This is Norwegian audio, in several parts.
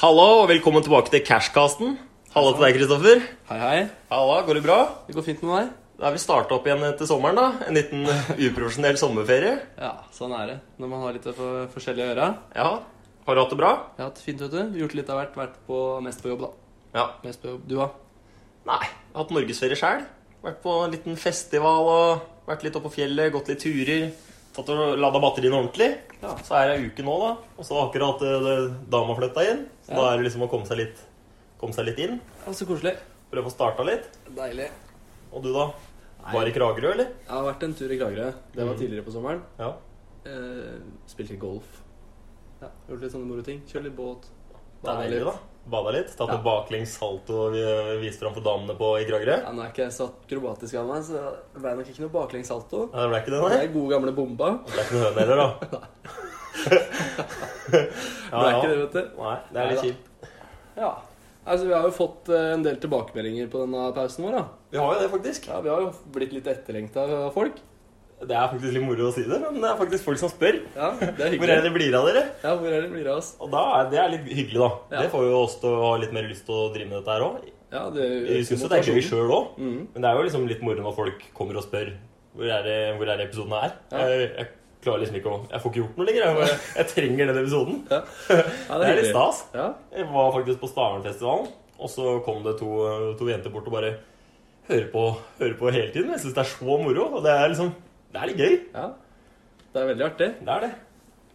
Hallo, og velkommen tilbake til Cashcasten. Halla til deg, Kristoffer. Hei, hei. Halla, går det bra? Det går fint med meg. Da er vi starta opp igjen til sommeren, da. En liten eh, uprofesjonell sommerferie. Ja, sånn er det. Når man har litt for forskjellig å gjøre. Ja, Har du hatt det bra? Jeg har hatt fint, vet du. Gjort litt av hvert. Vært på mest på jobb, da. Ja. Mest på jobb. Du, da? Nei. Jeg har hatt norgesferie sjæl. Vært på en liten festival og vært litt oppe på fjellet, gått litt turer. Tatt og Lada batteriene ordentlig. Ja. Så er det ei uke nå, da. Og så har akkurat eh, det- dama flytta inn. Så Ja. da er det liksom å komme seg litt, komme seg litt inn. Ja, så koselig. Prøve å starta litt. Deilig. Og du, da? Nei. Var i Kragerø, eller? Jeg har vært en tur i Kragerø. Det Mm. var tidligere på sommeren. Ja. Eh, spilte litt golf. Ja, Gjort litt sånne moro ting. Kjørt litt båt. Det er Badet deilig, da. Bada litt. Tatt Ja. noe baklengs salto og vi- vist fram for damene på i Kragerø. Ja, nå er ikke jeg så akrobatisk av meg, så det ble nok ikke noe baklengs salto. Ja, det ble ikke det, Det nei? er gode gamle bomba. Det ble ikke noe høne heller, da. Ble ikke det, vet du. Nei, det er litt Neida. kjipt. Ja. Altså, vi har jo fått eh, en del tilbakemeldinger på denne pausen vår, da. Vi har jo det, faktisk. Ja, vi har jo blitt litt etterlengta av folk. Det er faktisk litt moro å si det, men det er faktisk folk som spør. Ja, det er Hvor er det blir av dere? Ja, hvor er det blir av oss? Og da er det er litt hyggelig, da. Ja. Det får jo oss til å ha litt mer lyst til å drive med dette her òg. Ja, det Vi syns jo det er gøy sjøl òg, Mm. men det er jo liksom litt moro når folk kommer og spør hvor er det, hvor er det episoden er. Ja. Jeg, jeg klarer liksom ikke å Jeg får ikke gjort noe lenger. Jeg, bare- jeg trenger den episoden. Ja. Ja, Det er litt hyggelig. stas. Ja. Jeg var faktisk på Stavernfestivalen, og så kom det to, to jenter bort og bare hører på, hører på hele tiden. Jeg syns det er så moro, og det er liksom Det er litt gøy. ja. Det er veldig artig. Det er det.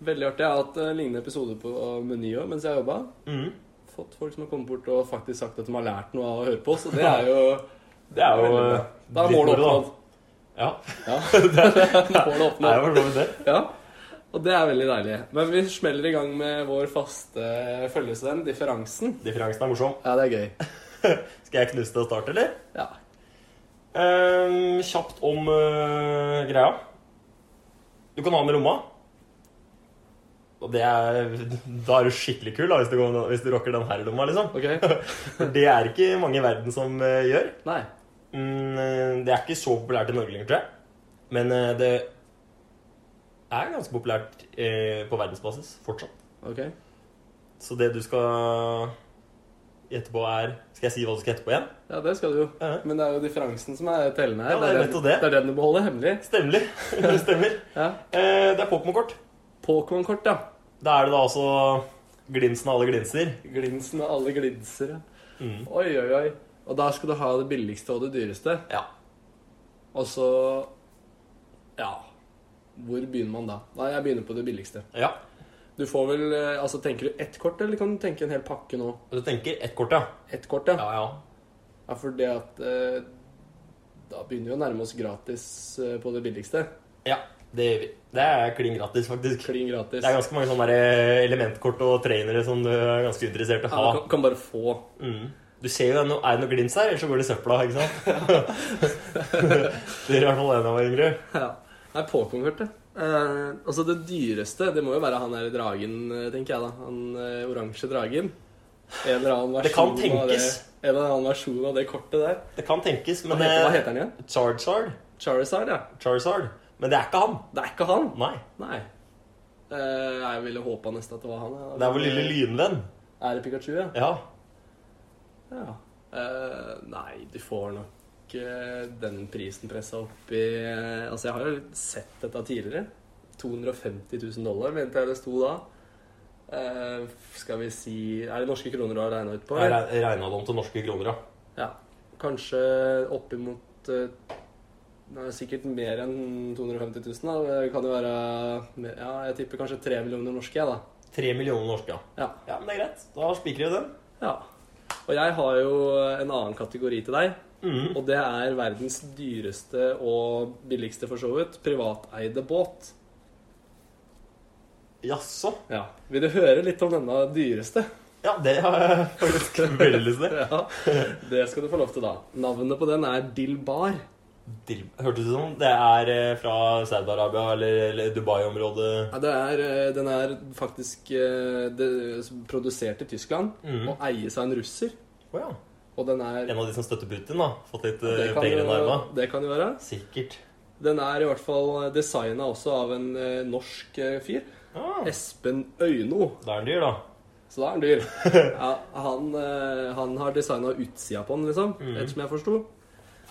Veldig artig. Jeg har hatt eh, lignende episoder på Meny òg mens jeg jobba. Mm. Fått folk som har kommet bort og faktisk sagt at de har lært noe av å høre på oss, og det er jo Det er jo Veldig bra. Da er litt målet moro, da. oppnådd. Ja. Ja. målet Det er oppnådd. jo for så vidt det. Ja. Og det er veldig deilig. Men vi smeller i gang med vår faste følgesvenn, differansen. Differansen er morsom. Ja, det er gøy. Skal jeg knuse til å starte, eller? Ja. Ehm, kjapt om eh, greia. Du kan ha med lomma. Og det er Da er du skikkelig kul da, hvis du, går- hvis du rocker den her i lomma, liksom. Ok. For det er ikke mange i verden som eh, gjør. Nei. Mm, eh, det er ikke så populært i Norge lenger, tror jeg. Men eh, det er ganske populært eh, på verdensbasis fortsatt. Ok. Så det du skal gjette på, er Skal jeg si hva du skal gjette på igjen? Ja, det skal du jo. Ja. Men det er jo differansen som er tellende Ja, her. det er nettopp det. det er den du beholder hemmelig. Stemmer. det stemmer. Ja. Eh, det er Pokémon-kort. Pokémon-kort, ja. Da er det da altså glinsen av alle glinser. Glinsen og alle glinser. ja. Mm. Oi, oi, oi. Og da skal du ha det billigste og det dyreste. Ja. Og så Ja. Hvor begynner man da? Nei, jeg begynner på det billigste. ja. Du får vel eh, Altså, tenker du ett kort, eller kan du tenke en hel pakke nå? Og du tenker ett kort, ja. Ett kort, ja. Ja, Ja, ja. for det at eh, Da begynner vi å nærme oss gratis eh, på det billigste. ja det gjør vi. Det er klin gratis, faktisk. Klin gratis. Det er ganske mange sånne der eh, elementkort og trainere som du er ganske interessert i å ja, du ha. kan, kan bare få Mm. Du ser jo, er det noe- er det noe glins her, ellers så går det i søpla, ikke sant? det gjør i hvert fall en av våre yngre. Ja. Nei, Pokémon-kortet. Eh, altså Det dyreste det må jo være han der dragen, eh, tenker jeg. da Han eh, oransje dragen. En eller annen Det kan versjon av det, tenkes. en eller annen versjon av det kortet der. Det kan tenkes, Hva men heter, hva eh, heter han igjen? Charizard. Charizard, ja. Charizard. Men det er ikke han. Det er ikke han. Nei. Nei. Eh, jeg ville håpa nesten at det var han. ja. Eh, Det er vår lille lynvenn. Er det Pikachu, ja? Ja. ja. Eh, nei, du får nok eh, den prisen pressa opp i eh, Altså, jeg har jo sett dette tidligere. 250 000 dollar, mente jeg det sto da. Eh, skal vi si Er det norske kroner du har regna ut på? Jeg eller? reg- regna det om til norske kroner, ja. Ja. Kanskje oppimot eh, Nei, sikkert mer enn 250 000. Da. Det kan jo være mer, Ja, jeg tipper kanskje 3 millioner norske, jeg, da. Tre millioner norske, ja. Ja. Ja, men det er greit. Da spikrer vi den. ja. Og jeg har jo en annen kategori til deg. Mhm. Og det er verdens dyreste og billigste, for så vidt, privateide båt. Jaså? Ja. Vil du høre litt om denne dyreste? Ja, det har jeg faktisk veldig lyst til. Ja, Det skal du få lov til, da. Navnet på den er Dilbar. Dil- Hørtes det som det er eh, fra Saudi-Arabia eller eller Dubai-området? Ja, det er, eh, den er faktisk eh, det, produsert i Tyskland Mhm. og eies av en russer. Å ja. Og den er En eh, av de som støtter Putin, da. Fått litt det eh, kan penger jo- under armen. Det kan jo være. Sikkert. Den er i hvert fall designa også av en eh, norsk eh, fyr. Ah, Espen Øyno. da er den dyr, da. Så da er den dyr. Ja, han, eh, han har designa utsida på den, liksom, Mhm. ettersom jeg forsto.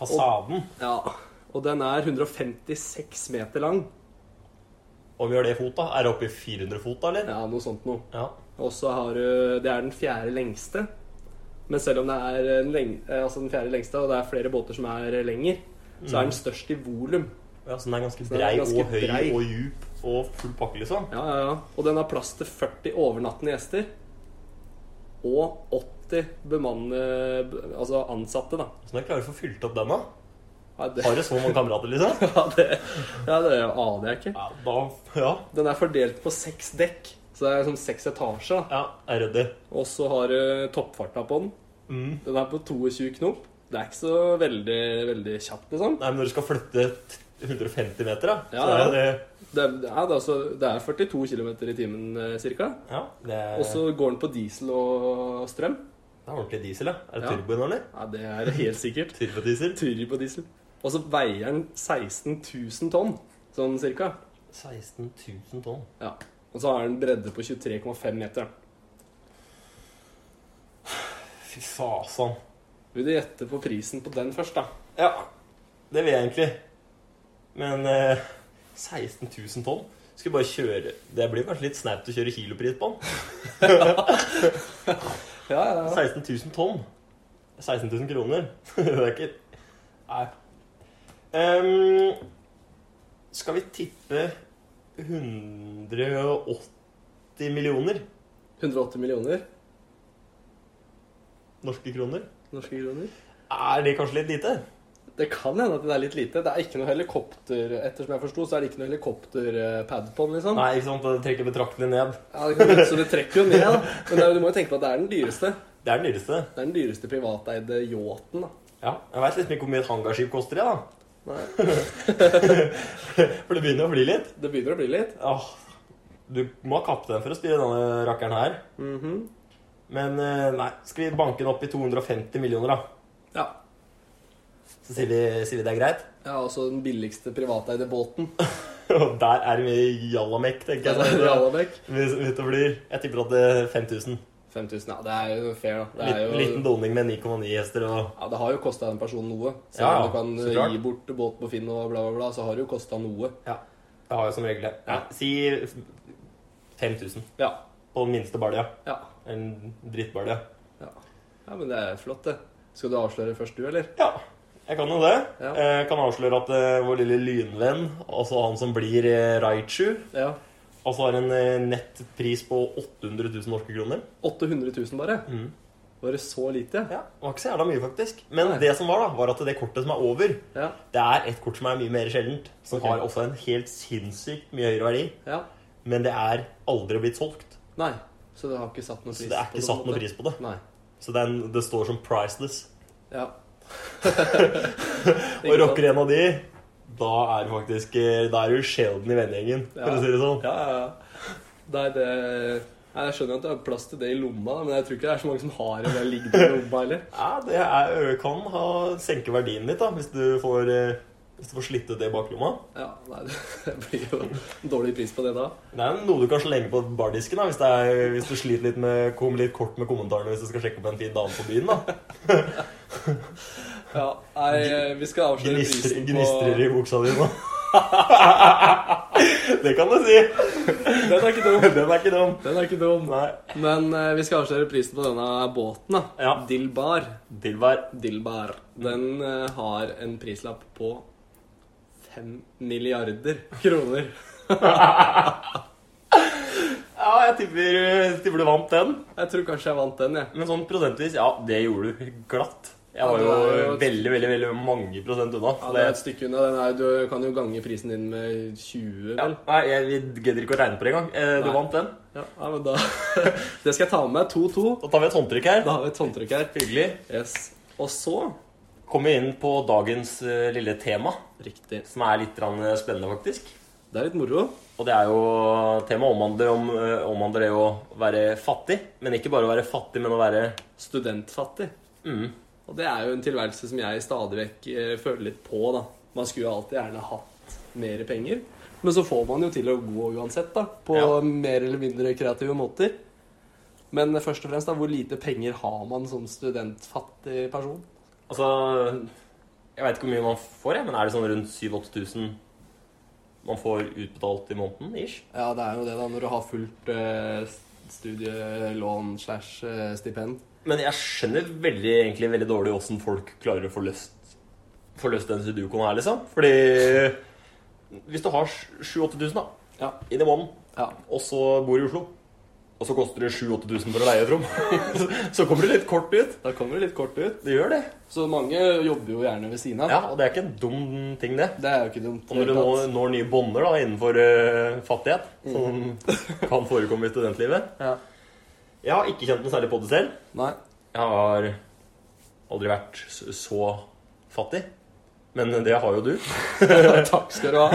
Fasaden. Ja. Og den er 156 meter lang. Og vi gjør det i fot, da. Er det oppe i 400 fot, da, eller? Ja, noe sånt noe. Ja. Og så har du Det er den fjerde lengste. Men selv om det er en leng, eh, altså den fjerde lengste, og det er flere båter som er lengre, så er den størst i volum. ja så den er ganske Så den er brei ganske og høy brei. og djup og full pakke, liksom. Ja, ja, ja. Og den har plass til 40 overnattende gjester. Og 80 bemanne... be- Altså ansatte, da. Så når jeg klarer å få fylt opp den, da Ja, det, Har du så mange kamerater, liksom? ja, det, ja, det aner jeg ikke. Ja, da Ja. Den er fordelt på seks dekk. Så det er som seks etasjer. da. ja jeg er ryddig. Og så har du toppfarta på den. Mm. Den er på 22 knop. Det er ikke så veldig, veldig kjapt, liksom. Nei, men når du skal flytte t- 150 meter, da Ja, så ja. er det Det er, det er, da så- det er 42 km i timen eh, cirka. Ja, det er, Og så går den på diesel og strøm. det er ordentlig diesel, ja. Er det Ja. turbo i den, eller? Ja, det er helt sikkert. Turbodiesel? Turer på diesel. Og så veier den 16 000 tonn, sånn cirka. 16 000 tonn. Ja. Og så har den bredde på 23,5 meter. Fy fasan. Vil du gjette på prisen på den først, da? Ja, det vil jeg egentlig. Men eh, 16 000 tonn? Skal vi bare kjøre Det blir kanskje litt snaut å kjøre kilopris på den? Ja, ja, 16 000 tonn. 16 000 kroner. det er ikke Nei. Ehm, skal vi tippe 180 millioner 180 millioner norske kroner? norske kroner. Er det kanskje litt lite? Det kan hende at det er litt lite. Det er ikke noe helikopter, ettersom jeg forsto, så er det ikke noe helikopterpad på den, liksom. Nei, ikke sant? Det trekker betraktelig ned. Ja, det kan, så det trekker jo ned, da. Men det er, du må jo tenke på at det er den dyreste. Det er den dyreste. Det er den dyreste privateide yachten, da. Ja, Jeg veit liksom ikke hvor mye et hangarskip koster, jeg, da. Nei, For det begynner å bli litt. det begynner å bli litt. Åh, du må ha kaptein for å styre denne rakkeren her. Mhm. Men eh, nei, skal vi banke den opp i 250 millioner, da? Ja. Så sier vi, sier vi det er greit? Ja, også den billigste privateide båten. Og der er det mye jallamekk, tenker jeg. Altså, Så, Rallabekk. hvis, hvis det blir, jeg tipper at det er 5000. 5000, ja. Det er jo fair, da. Det, er Liten, liten jo, doning med 9,9 hester og ja, det har jo kosta den personen noe. Selv Ja, om ja, du kan så eh, klart. gi bort båt på Finn og bla, bla, bla, så har det jo kosta noe. Ja. Det har jeg som regel det. Ja, si 5000 Ja. på den minste balja. Ja. En drittbalja. ja. Ja, men det er flott, det. Skal du avsløre først, du, eller? Ja, jeg kan jo det. Ja. Jeg kan avsløre at eh, vår lille lynvenn, altså han som blir eh, Raichu, Ja. altså har en eh, nettpris på 800 000 norske kroner. 800 000, bare? Mhm. Var det så lite? Ja, det var ikke så jævla mye, faktisk. Men Nei. det som var, da, var at det kortet som er over, Ja. det er et kort som er mye mer sjeldent. Som Ok. har også en helt sinnssykt mye høyere verdi. ja. Men det er aldri blitt solgt. Nei. Så det har ikke satt noen Så pris det er på ikke satt på en noen måte. pris på det. Nei. Så det, er en, det står som priceless. Ja. Og rocker en av de, da er du faktisk eh, Da er du sjelden i vennegjengen, for Ja. å si det sånn. Ja, ja, ja. Nei, det Nei, Jeg skjønner at det er plass til det i lomma, men jeg tror ikke det er så mange som har det liggende i lomma heller. Ja, det er, kan ha, senke verdien litt da, hvis du får, eh, hvis du får slitt ut det i baklomma. Ja, nei, det blir jo en dårlig pris på det da. Det er noe du kan slenge på bardisken da, hvis, det er, hvis du sliter litt med, kommer litt kort med kommentarene hvis du skal sjekke opp en fin dame på byen. da. Ja, nei, eh, vi skal avsløre Gnistrer, prisen gnistrer på i buksa di nå. det kan du si. Den er ikke dum. Den er ikke dum. Den er ikke dum. Nei. Men eh, vi skal avsløre prisen på denne båten, da. Ja. Dilbar. Dilbar. Dilbar. Den eh, har en prislapp på fem milliarder kroner. Ja, jeg tipper, tipper du vant den. Jeg tror kanskje jeg vant den, jeg. Men sånn prosentvis, ja, det gjorde du glatt. Jeg var Ja, jo det er jo et- veldig, veldig, veldig mange prosent unna. Ja, så det er et stykke unna. Den er, du kan jo gange prisen din med 20, Ja, vel? nei, jeg vi gidder ikke å regne på det engang. Eh, du Nei. vant den. Ja, ja men da Det skal jeg ta med meg. 2-2. Da tar vi et håndtrykk her. Da har vi et håndtrykk her. Hyggelig. Yes. Og så Kommer vi inn på dagens eh, lille tema, Riktig. som er litt grann, eh, spennende, faktisk. Det er litt moro. Og det er jo Temaet omhandler, om, eh, omhandler det å være fattig. Men ikke bare å være fattig, men å være Studentfattig. mm, Og det er jo en tilværelse som jeg stadig vekk eh, føler litt på, da. Man skulle jo alltid gjerne hatt mer penger. Men så får man jo til å gå uansett, da. På Ja. mer eller mindre kreative måter. Men først og fremst, da, hvor lite penger har man som studentfattig person? Altså Jeg veit ikke hvor mye man får, jeg, men er det sånn rundt 7000-8000 man får utbetalt i måneden? ish? Ja, det er jo det, da, når du har fullt eh, studielån slash eh, stipend. Men jeg skjønner veldig, egentlig veldig dårlig åssen folk klarer å få løst, få løst den sudokoen her, liksom. Fordi hvis du har 7000-8000 da, Ja. i det måneden, Ja. og så bor du i Oslo, og så koster det 7000-8000 for å leie et rom, så- så kommer du litt kort ut. Da kommer det litt kort ut. Det gjør det. Så mange jobber jo gjerne ved siden av. Ja, Og det er ikke en dum ting, det. Det er jo ikke dumt. Og når du nå når nye bånder da, innenfor eh, fattighet, som kan forekomme i studentlivet Ja. Jeg har ikke kjent noe særlig på det selv. Nei. Jeg har aldri vært s- så fattig. Men det har jo du. Takk skal du ha.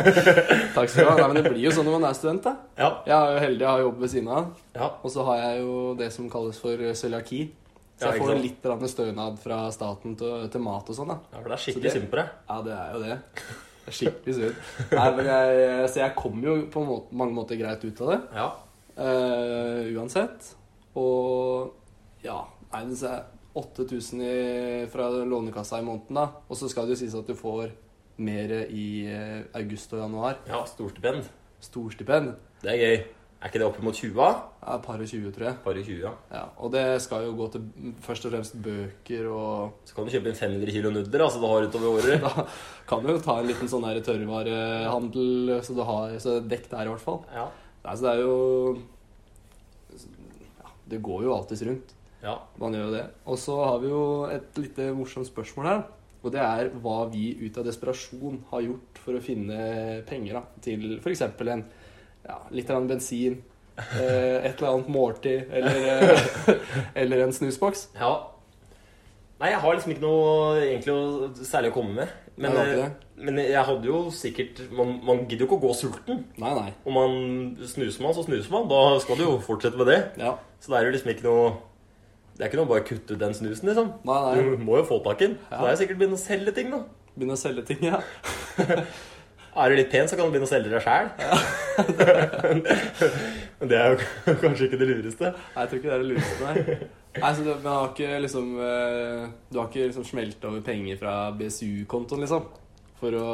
Takk skal du ha. Nei, men Det blir jo sånn når man er student. da. Ja. Jeg er jo heldig, jeg har jobb ved siden av. ja. Og så har jeg jo det som kalles for cøliaki. Så Ja, jeg ikke får sant. litt grann stønad fra staten til, til mat og sånn. da. ja for det er Så skikkelig det- synd på deg. Ja, det er jo det. Det er Skikkelig synd. Nei, men jeg, så jeg kom jo på må- mange måter greit ut av det Ja. eh, uansett. Og ja Nei, det er 8000 i- fra lånekassa i måneden, da. Og så skal det jo sies at du får mer i eh, august og januar. ja Storstipend. Storstipend. Det er gøy. Er ikke det oppimot 20? da? Ja, par og 20, tror jeg. Bare 20, ja. Ja, og det skal jo gå til først og fremst bøker og Så kan du kjøpe inn 500 kilo nudler altså du har utover året. Da kan du jo ta en liten sånn her tørrvarehandel, så du har så dekk der i hvert fall. Ja. Nei, så det er jo ja, Det går jo alltids rundt. ja. Man gjør jo det. Og så har vi jo et lite morsomt spørsmål her. Og det er hva vi ut av desperasjon har gjort for å finne penger da, til f.eks. en ja, litt eller annen bensin, eh, et eller annet måltid eller, eh, eller en snusboks. ja. Nei, jeg har liksom ikke noe egentlig å, særlig å komme med. Men, Jeg har ikke eh, men jeg hadde jo sikkert Man, man gidder jo ikke å gå sulten. Nei, nei. Om man snuser man, så snuser man. Da skal du jo fortsette med det. Ja. Så det er jo liksom ikke noe Det er ikke noe å bare kutte ut den snusen, liksom. Nei, nei. Du må jo få tak i den. Så Ja. det er jo sikkert å begynne å selge ting, da. Begynne å selge ting, ja. Er du litt pen, så kan du begynne å selge deg sjæl. Men det er jo kanskje ikke det lureste. Nei, jeg tror ikke det er det lureste, nei. nei så du, men har ikke liksom eh, Du har ikke liksom smelt over penger fra BSU-kontoen, liksom? For å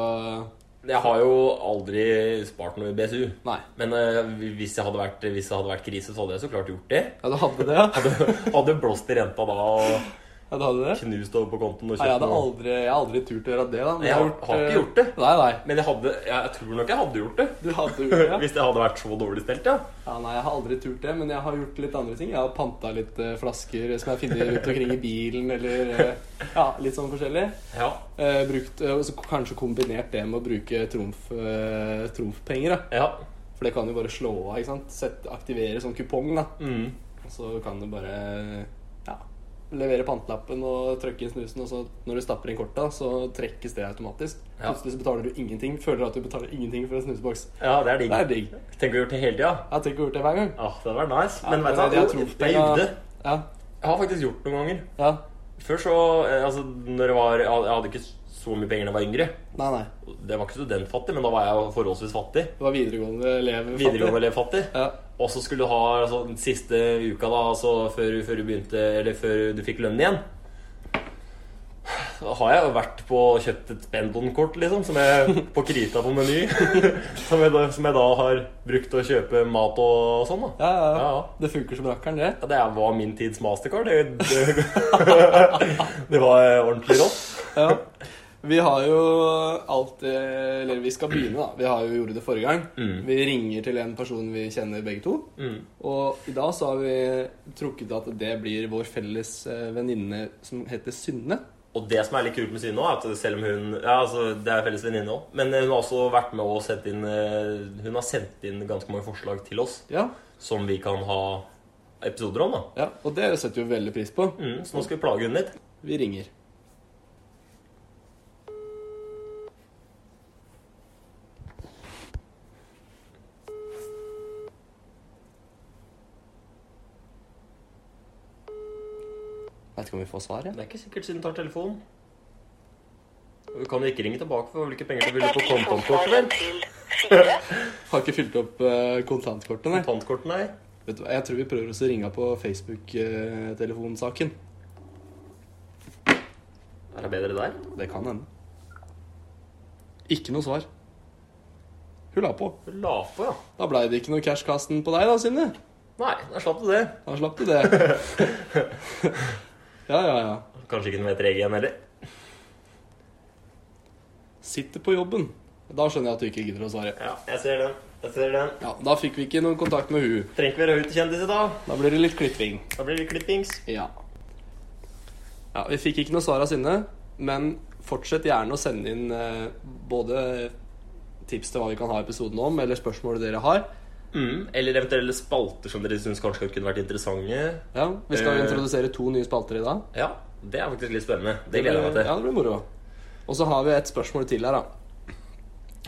Jeg har jo aldri spart noe i BSU. Nei. Men eh, hvis, jeg hadde vært, hvis det hadde vært krise, så hadde jeg så klart gjort det. Ja, du hadde det, ja? Hadde blåst i renta da og Ja, du hadde det? knust over på kontoen og Nei, jeg, kjøpt hadde noe. aldri, jeg har aldri turt å gjøre det, da. men Jeg har ikke gjort det. eh, Nei, nei. Men jeg, hadde, jeg tror nok jeg hadde gjort det. Du hadde gjort det, ja. Hvis det hadde vært så dårlig stelt, ja. ja. Nei, jeg har aldri turt det, men jeg har gjort litt andre ting. Jeg har panta litt eh, flasker som jeg har funnet rundt omkring i bilen, eller eh, ja, litt sånn forskjellig. ja. Eh, brukt, eh, og så kanskje kombinert det med å bruke trumf, eh, trumfpenger, da. Ja. For det kan jo bare slå av, ikke sant. Sett, aktivere sånn kupong, da. Mm. Så kan du bare ja, levere pantelappen og trykke inn snusen, og så når du stapper inn korta, så trekkes det automatisk. Ja. Plutselig så betaler du ingenting. Føler at du betaler ingenting for en snusboks. ja, det er digg. Det er digg. Jeg Tenk å gjøre det hele tida. har tenkt å gjøre det hver gang. Ah, det hadde vært nice. Ja, Men vet du, det- det hva? er jeg, trompet, jeg ja. jugde. Ja, Jeg har faktisk gjort det noen ganger. ja. Før så eh, Altså, når jeg var Jeg hadde ikke så mye penger da jeg var yngre. Nei, nei. Det var ikke studentfattig, men da var jeg forholdsvis fattig. Det var videregående elev. Videregående elev fattig. Ja. Og så skulle du ha altså, den siste uka, da, altså før, før du begynte Eller før du fikk lønn igjen. Da har jeg jo vært på kjøpt et Spendon-kort, liksom, som jeg på krita på Meny. som, jeg, da- som jeg da har brukt til å kjøpe mat og sånn, da. Ja, ja, ja. Ja, ja. Det funker som rakkeren, det. Ja, det var min tids mastercard. Det, det, det var eh, ordentlig rått. Ja. Vi har jo alltid Eller vi skal begynne, da. Vi har jo gjort det forrige gang. Mm. Vi ringer til en person vi kjenner begge to. Mm. Og i dag så har vi trukket at det blir vår felles eh, venninne som heter Synne. Og det som er litt kult med Synne, også, er at selv om hun ja, altså, Det er felles venninne òg, men eh, hun har også vært med og sendt inn eh, Hun har sendt inn ganske mange forslag til oss Ja, som vi kan ha episoder om. da ja. Og det setter vi jo veldig pris på. mm, Så nå skal vi plage hun litt. Vi ringer. Veit ikke om vi får svar, jeg. Det er ikke sikkert Synne tar telefonen. Og Hun kan jo ikke ringe tilbake for hvilke penger du vil på kontantkortet. vel? til fire. Har ikke fylt opp eh, kontantkortet, nei. Kontantkortet, nei. Vet du hva, Jeg tror vi prøver også å ringe på eh, Facebook-telefonsaken. Er det bedre der? Det kan hende. Ikke noe svar. Hun la på. Du la på, ja. Da blei det ikke noe cashkasten på deg, da, Synne. Nei, da slapp du det. Da slapp du det. ja, ja, ja. Kanskje ikke den vet regelen heller. Sitter på jobben. Da skjønner jeg at du ikke gidder å svare. Ja, jeg ser den. Jeg ser den. Ja, Da fikk vi ikke noen kontakt med hun. Trenger ikke være høy til kjendis i dag. Da blir det litt klipping. Da blir det klippings. Ja. ja vi fikk ikke noe svar av Synne, men fortsett gjerne å sende inn eh, både tips til hva vi kan ha episoden om, eller spørsmål dere har. Mm. Eller eventuelle spalter som dere syns kanskje kunne vært interessante. Ja, Vi skal Eh. jo introdusere to nye spalter i dag. Ja, det er faktisk litt spennende. Det gleder jeg meg blir- Ja, til. det blir moro. Og så har vi et spørsmål til her, da.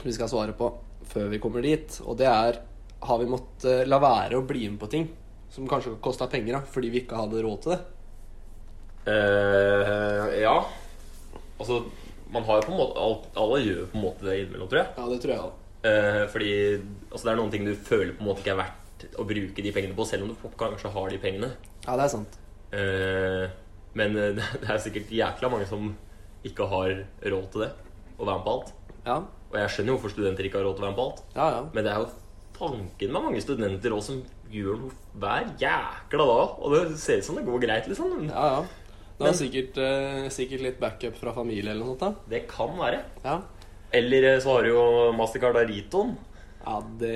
Vi skal svare på før vi kommer dit. Og det er Har vi måttet eh, la være å bli med på ting som kanskje kosta penger, da, fordi vi ikke hadde råd til det? Eh, ja. Altså, man har jo på en måte alt- Alle gjør jo på en måte det innimellom, tror jeg. Ja, det tror jeg òg. Eh, fordi altså, det er noen ting du føler på en måte ikke er verdt å bruke de pengene på, selv om du kanskje har de pengene. Ja, det er sant. Eh, men eh, det er sikkert jækla mange som ikke har råd til det, å være med på alt. Ja, Og jeg skjønner jo hvorfor studenter ikke har råd til å være med på alt. ja. ja. Men det er jo tanken med mange studenter også som gjør noe hver jækla dag. Og det ser ut som det går greit, liksom. Men ja, ja. Det Men- var sikkert, eh, sikkert litt backup fra familie eller noe sånt. det kan være. da Ja, Eller eh, så har du jo Mastercard og Ritoen. ja det,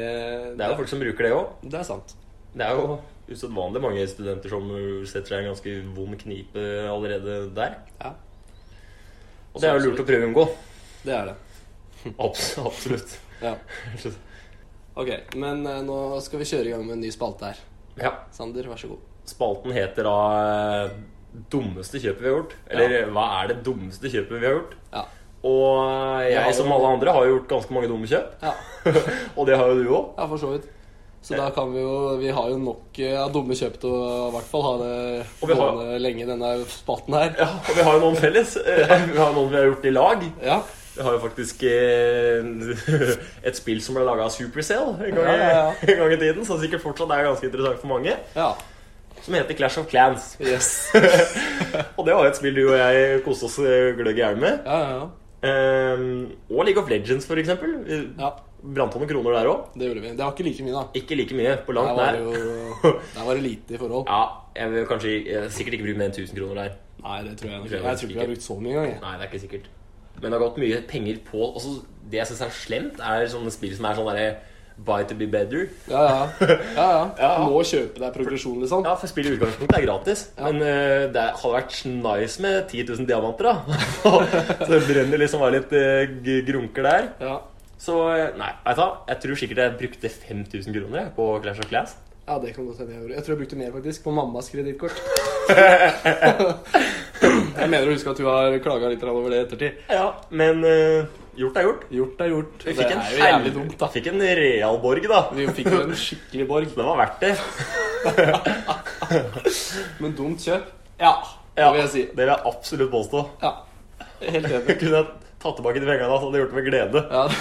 Det er jo folk som bruker det òg. det er sant. Det er jo usedvanlig mange studenter som uh, setter seg i en ganske vond knipe allerede der. Ja, Og det er jo lurt å prøve å unngå. det er det. Abs absolutt. Ja. Ok, men eh, nå skal vi kjøre i gang med en ny spalte her. Ja. Sander, vær så god. Spalten heter da eh, 'Dummeste kjøpet vi har gjort'. Eller hva er det dummeste kjøpet vi har gjort? Ja. Og eh, Jeg har jeg, jo- som alle andre, har jo gjort ganske mange dumme kjøp. Ja, Og det har jo du òg. ja for så vidt. Så da kan vi jo Vi har jo nok eh, av dumme kjøp til å i hvert fall ha det Og vi har- gående lenge, denne spalten her. Ja, og vi har jo noen felles. Eh, Vi har noen vi har gjort i lag. Ja. Vi har jo faktisk eh, et spill som ble laga av Supercell en gang, i- Ja, ja, en gang i tiden, som sikkert fortsatt er ganske interessant for mange, ja. som heter Clash of Clans. Yes. Og det var jo et spill du og jeg koste oss eh, gløgg i hjel med. Ja, ja, ja. Ehm, og League of Legends, for eksempel. Ja. ja. Brant av noen kroner der òg. Det gjorde vi. Det var ikke like mye, da. Ikke like mye på Der langt var nær. det jo Der var det lite i forhold. Ja, jeg vil kanskje jeg, sikkert ikke bruke mer enn 1000 kroner der. Nei, det tror jeg nok Det er ikke. Jeg tror ikke vi har ikke. brukt så mye engang. jeg. Nei, det er ikke sikkert. Men det har gått mye penger på også, Det jeg syns er slemt, er sånne spill som er sånn derre Buy to be better. Ja, ja. ja, ja. Ja. Må kjøpe deg progresjon, liksom. Ja, for spill i utgangspunktet er gratis. Men eh, det hadde vært nice med 10 000 diamanter, da. Så det brenner liksom bare litt eh, g- grunker der. Ja. Så eh, nei, vet du hva. Jeg tror sikkert jeg brukte 5000 kroner jeg, på Clash of Class. ja, det kan godt hende jeg gjorde. Jeg tror jeg brukte mer, faktisk, på mammas kredittkort. jeg mener å huske at hun har klaga litt over det i ettertid. Ja, men eh, gjort er gjort. Gjort er gjort. Vi det fikk en er jo jævlig helv- dumt, da. Fikk en realborg, da. Vi fikk jo en skikkelig borg, Den var verdt det. men dumt kjøp. Ja, det vil jeg si. Det vil jeg absolutt påstå. Ja. Helt enig. Jeg kunne tatt tilbake de pengene, altså. Det gjort det med glede. Ja.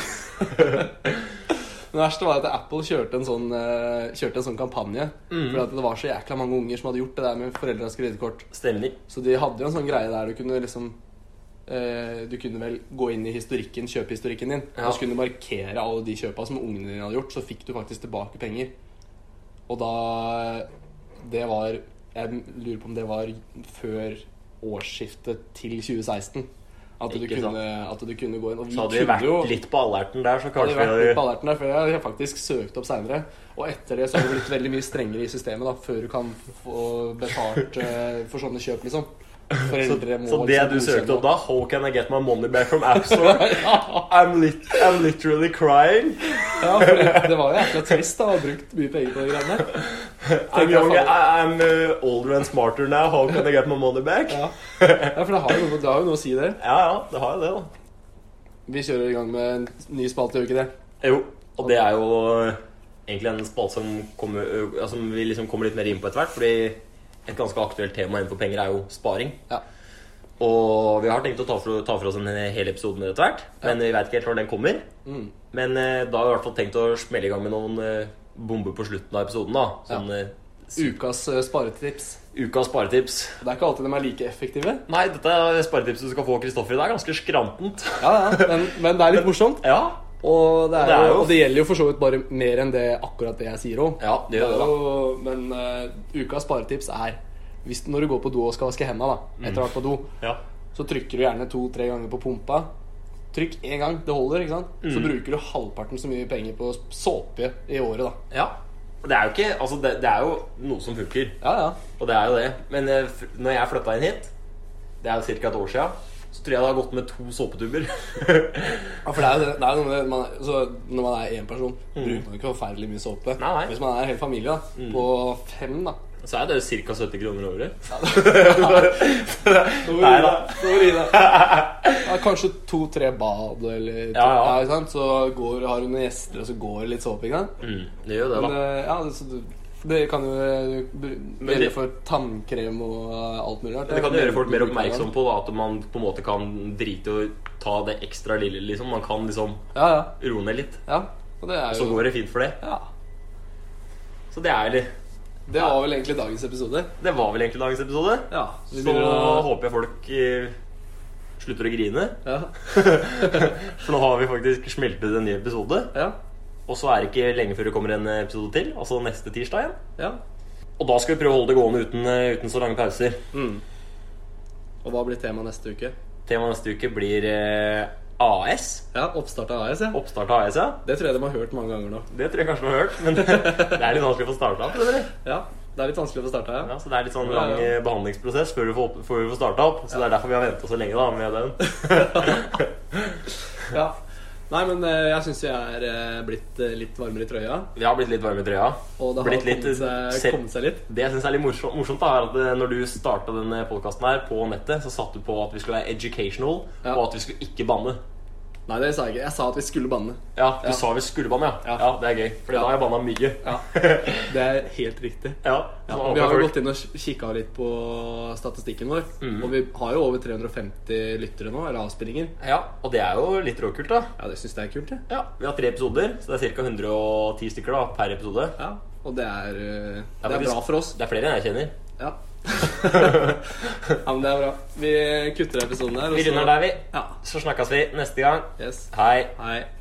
Det verste var at Apple kjørte en sånn, eh, kjørte en sånn kampanje. Fordi at det var så jækla mange unger som hadde gjort det der med foreldrenes kredittkort. Stemmer. Så de hadde jo en sånn greie der du kunne liksom eh, Du kunne vel gå inn i historikken, kjøpe historikken din. Ja. Og så kunne du markere alle de kjøpa som ungene dine hadde gjort. Så fikk du faktisk tilbake penger. Og da Det var Jeg lurer på om det var før årsskiftet til 2016. At du, Ikke sant. kunne, at du kunne gå inn. Og vi Så hadde vi kunne vært jo litt på alerten der, så hadde kanskje vært vi litt på hadde alerten der, for jeg har faktisk søkt opp seinere. Og etter det så har det blitt veldig mye strengere i systemet da, før du kan få betalt eh, for sånne kjøp, liksom. så, Foreldre må liksom så det du søkte opp da How can I get my money back from AppStore? ja, I'm, lit I'm literally crying. ja, for det, det var jo jækla trist da, å ha brukt mye penger på de greiene der. I'm, jeg young, faen. I- I'm uh, older and smarter now. How can I get my money back? Ja, Ja. ja, for det har, jo noe, det har jo noe å si, det. ja, det har jo det, da. Vi kjører i gang med en ny spalte, gjør vi ikke det? Jo, og det er jo øh, egentlig en spalte som, kommer, øh, ja, som vi liksom kommer litt mer inn på etter hvert. Fordi et ganske aktuelt tema innenfor penger er jo sparing. Ja. Og vi har tenkt å ta for, ta for oss en hel episode med det etter hvert. Men vi veit ikke helt når den kommer. Mm. Men øh, da har vi i hvert fall tenkt å smelle i gang med noen øh, bombe på slutten av episoden, da. Sånn eh, Ukas eh, sparetips. ukas sparetips. Det er ikke alltid de er like effektive. Nei, dette sparetipset du skal få, Kristoffer, det er ganske skrantent. Ja, ja, men, men det er litt morsomt. Ja. Og det, er Det er jo, jo- og det gjelder jo for så vidt bare mer enn det akkurat det jeg sier òg. Ja, det gjør det, da. Men eh, ukas sparetips er hvis, Når du går på do og skal vaske hendene da, Mm. etter å ha vært på do, Ja. så trykker du gjerne to-tre ganger på pumpa. Trykk én gang, det holder. ikke sant? Mm. Så bruker du halvparten så mye penger på såpe i året, da. ja. Det er jo ikke Altså, det, det er jo noe som funker, Ja, ja. og det er jo det. Men eh, f- når jeg flytta inn hit, det er jo ca. et år sia, så tror jeg det har gått med to såpetuber. Ja, for det er jo det, det er jo noe med man, så Når man er én person, bruker man ikke forferdelig mye såpe. Mm. Nei, Mm. nei. Hvis man er en hel familie, da, på fem, da så er det ca. 70 kroner året. Stor Nei da. Stor Ida. Ja, kanskje to-tre bad eller to, Ja, ja. ikke sant? Så går, har du noen gjester, og så går det litt såpe. ikke sant? Mm, det gjør det, Men da. eh, ja, det, så du, det kan jo eh, br- Men gjelde det- for tannkrem og eh, alt mulig rart. Det kan ja. gjøre folk mer oppmerksom på da, at man på en måte kan drite i å ta det ekstra lille. liksom Man kan liksom Ja, ja. roe ned litt. ja. Og det er Så jo går det fint for det. ja. Så det er litt Det var vel egentlig dagens episode. Det var vel egentlig dagens episode. Ja, vi Så begynner å håper jeg folk eh, slutter å grine. ja. For nå har vi faktisk smeltet en ny episode. ja, Og så er det ikke lenge før det kommer en episode til. Altså neste tirsdag igjen. ja. Og da skal vi prøve å holde det gående uten, eh, uten så lange pauser. Mm. Og hva blir temaet neste uke? Temaet neste uke blir eh, AS. Ja, Oppstart av AS, ja. Oppstart av AS, ja. Det tror jeg de har hørt mange ganger nå. Det tror jeg kanskje du har hørt, men det er litt vanskelig å få starta opp. Eller? Ja, Det er litt vanskelig å få starta, Ja, så det er litt sånn lang eh, behandlingsprosess før du får, opp- før du får starta opp. Så det er derfor vi har venta så lenge da med den. Ja. Nei, men eh, jeg syns vi er eh, blitt eh, litt varmere i trøya. Vi har blitt litt varme i trøya. Og det har Blitt litt, eh, kommet, seg, se- kommet seg litt. Det jeg synes er litt morsomt, morsomt da, er at eh, når du starta denne podkasten her på nettet, så satte du på at vi skulle være educational, Ja. og at vi skulle ikke banne. Nei, det sa jeg ikke. Jeg sa at vi skulle banne. Ja, du Ja. sa vi skulle banne, ja. Ja. ja. det er gøy, for Ja. da har jeg banna mye. Ja, Det er helt riktig. Ja, Ja, så og vi har jo folk- Mhm. gått inn og kikka litt på statistikken vår. Og vi har jo over 350 lyttere nå, eller avspillinger. ja, og det er jo litt råkult, da. Ja, det syns jeg er kult, jeg. Ja, Vi har tre episoder, så det er ca. 110 stykker da, per episode. Ja. Og det er, eh, Ja, det er faktisk- bra for oss. Det er flere enn jeg kjenner. Ja. ja, men det er bra. Vi kutter episoden her. og Vi så- runder der, vi. Ja. Så snakkes vi neste gang. Yes. Hei. Hei.